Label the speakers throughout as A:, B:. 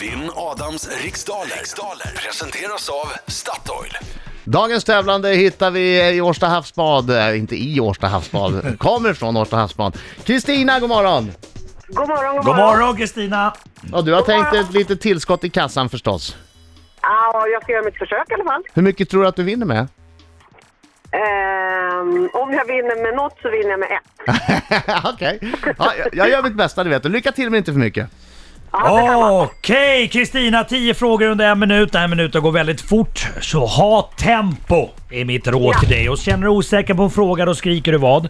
A: Vinn Adams riksdaler. riksdaler presenteras av Statoil.
B: Dagens tävlande hittar vi i Årsta havsbad, Eh, inte i Årsta havsbad, kommer från Årsta havsbad. Kristina, god morgon!
C: God morgon, god,
D: God morgon Kristina!
B: Ja, du har tänkt ett litet tillskott i kassan förstås.
C: Ja, jag ska göra mitt försök i alla fall.
B: Hur mycket tror du att du vinner med?
C: Ehm, om jag vinner med något så vinner jag med ett.
B: Okej, ja, jag- jag gör mitt bästa du vet och lycka till men inte för mycket.
D: Okej Kristina, 10 frågor under en minut. Den här minuten går väldigt fort. Så ha tempo är mitt råd till dig. Och känner du osäker på en fråga då skriker du vad?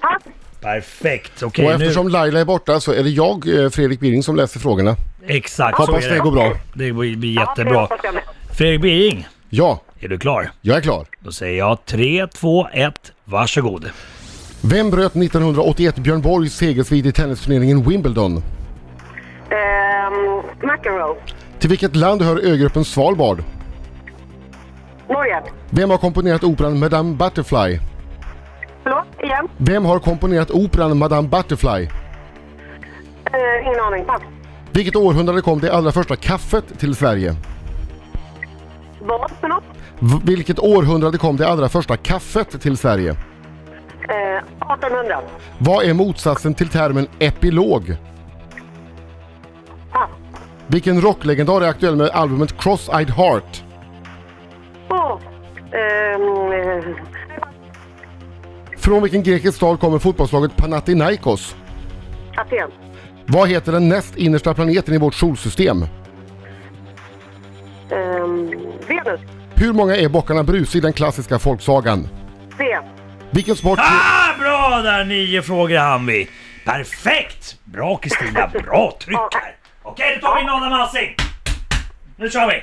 C: Pass.
D: Perfekt!
E: Och
D: Okej nu...
E: eftersom Laila är borta så är det jag, eh, Fredrik Billing, som läser frågorna.
D: Exakt så
E: Hoppas
D: är
E: det
D: det.
E: går bra.
D: Det blir blir
C: Ja, det
D: jättebra.
C: hoppas jag med.
D: Fredrik Bering,
E: Ja,
D: är du klar?
E: jag är klar.
D: Då säger jag 3, 2, 1, varsågod.
E: Vem bröt 1981 Björn Borgs segersvit i tennisturneringen Wimbledon?
C: Ehm, McEnroe.
E: Till vilket land hör ögruppen Svalbard?
C: Norge.
E: Vem har komponerat operan Madame Butterfly?
C: Förlåt, igen.
E: Vem har komponerat operan Madame Butterfly?
C: Ehm, ingen aning. Pass.
E: Vilket århundrade kom det allra första kaffet till Sverige?
C: Vad för något?
E: V- vilket århundrade kom det allra första kaffet till Sverige?
C: Ehm, 1800.
E: Vad är motsatsen till termen epilog?
C: Pass.
E: Vilken rocklegendar är aktuell med albumet Cross-Eyed Heart?
C: Åh. Ehm, eh,
E: Från vilken grekisk stad kommer fotbollslaget Panathinaikos?
C: Aten.
E: Vad heter den näst innersta planeten i vårt solsystem?
C: Ehm, Venus.
E: Hur många är bockarna Bruse i den klassiska folksagan?
C: C.
E: Vilken sport...
D: Ah, bra där! Nio frågor hann vi. Perfekt! Bra Kristina, bra tryck här. Okej, då tar vi in Adam Alsing. Nu kör vi!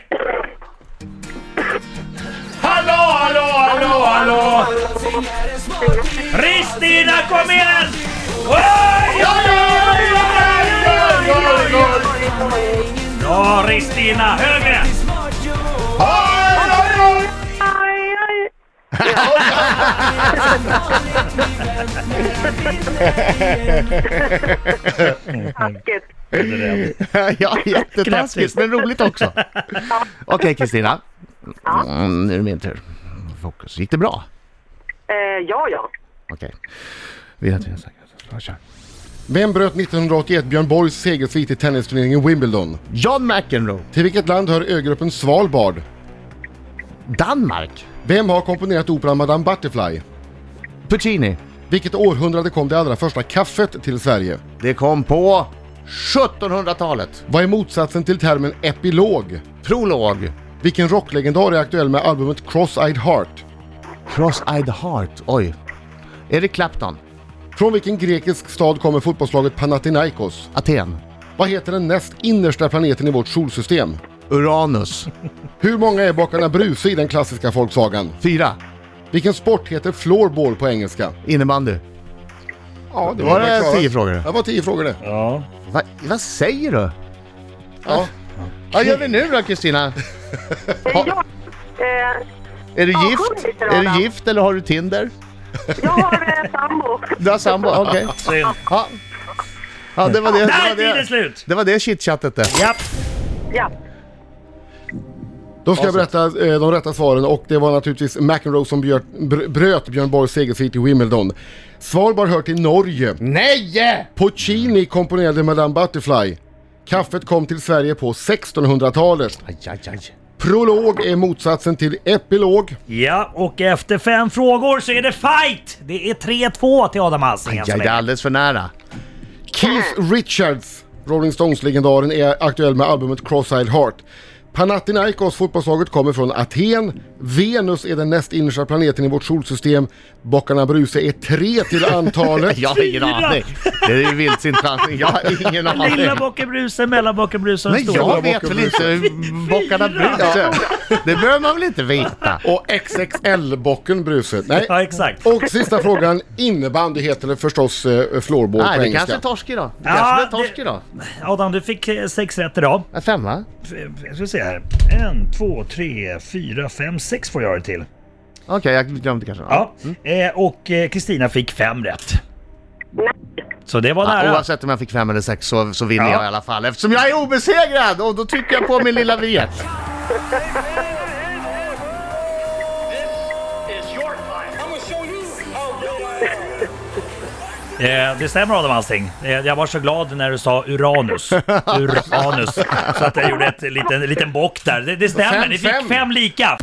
D: Hallå, hallå, hallå, hallå! Kristina, kom igen! Oj, oj, oj, oj, oj, oj, oj. Bra Kristina, högre!
C: Aj, aj. Taskigt.
B: ja, jättetaskigt
D: Knäpptyst.
B: men roligt också. Okej Kristina, mm, nu är det min tur. Fokus. Gick det bra?
C: Ehm, ja, ja.
B: Okej. Vi har tre säkert. Bra, kör.
E: Vem bröt 1981 Björn Borgs segersvit i tennisturneringen Wimbledon?
B: John McEnroe,
E: Till vilket land hör ögruppen Svalbard?
B: Danmark,
E: Vem har komponerat operan Madame Butterfly?
B: Puccini.
E: Vilket århundrade kom det allra första kaffet till Sverige?
B: Det kom på 1700-talet.
E: Vad är motsatsen till termen epilog?
B: Prolog.
E: Vilken rocklegendar är aktuell med albumet Cross-Eyed Heart?
B: Cross-eyed heart. Oj. Är det Clapton?
E: Från vilken grekisk stad kommer fotbollslaget Panathinaikos?
B: Aten?
E: Vad heter den näst innersta planeten i vårt solsystem?
B: Uranus?
E: Hur många är bakarna Bruse i den klassiska folksagan?
B: Fyra?
E: Vilken sport heter floorball på engelska?
B: Innebandy?
E: Ja,
B: Då var det tio frågor.
E: Det var tio frågor det.
D: Ja.
B: Va, vad säger du?
E: Ja.
B: Vad gör vi nu då Kristina?
C: Ehm, ja. Ehm,
B: Är du
C: Ja,
B: gift?
C: sjung lite då,
B: Är
C: då.
B: du gift eller har du Tinder?
C: jag har eh, sambo.
B: Du har sambo? Okej.
D: Synd.
B: Ja. ja, det var det.
D: Där är
B: Det var
D: tiden
B: det,
D: slut!
B: det, var det chitchattet det.
D: Japp.
C: Ja.
E: Då ska jag berätta eh, de rätta svaren och det var naturligtvis McEnroe som björ, br- bröt Björn Borgs segersvit i Wimbledon. Svalbard hör till Norge.
B: Nej!
E: Puccini komponerade Madame Butterfly. Kaffet kom till Sverige på 1600-talet.
B: Aj, aj, aj.
E: Prolog är motsatsen till epilog.
D: Ja, och efter fem frågor så är det fight! Det är 3-2 till Adam Alsing än så
B: Ja, det är
D: länge.
B: alldeles för nära.
E: Keith Richards, Rolling Stones-legendaren, är aktuell med albumet Cross-Eyed Heart. Panathinaikos, fotbollslaget, kommer från Aten. Venus är den näst innersta planeten i vårt solsystem. Bockarna Bruse är tre till antalet.
B: Jag har ingen
D: Fyra!
B: aning. Det är ju vildsint chansning. Jag har ingen aning.
D: Lilla bockenbrusen, mellanbockenbrusen och
B: Men jag
D: stora.
B: vet väl inte hur bockarna Bruse... Det behöver man väl inte veta?
E: Och XXL-bocken Bruse. Nej.
D: Ja, exakt.
E: Och sista frågan, innebandy heter det förstås eh, floorball på
B: Nej, det
E: engelska.
B: kanske är torsk idag. Det
D: Ja,
B: kanske är
D: det-
B: torsk idag.
D: Adam, du fick eh, sex rätt idag.
B: En femma?
D: F- Jag ska se här. En, två, tre, fyra, fem, sex får jag det till.
B: Okej, jag glömde kanske.
D: Ja. Eh, och eh, Kristina fick fem rätt.
C: Nej.
D: Så det var
B: Ja,
D: nära.
B: oavsett om jag fick fem eller sex så, så vinner
D: Ja.
B: jag i alla fall eftersom jag är obesegrad och då tycker jag på min lilla viet.
D: Eh, det stämmer Adam Alsing. Eh, jag var så glad när du sa Uranus. Uranus. Så att jag gjorde ett, liten, en liten bock där. Det, det stämmer,
E: Fem,
D: ni fick
E: fem.
D: fem lika.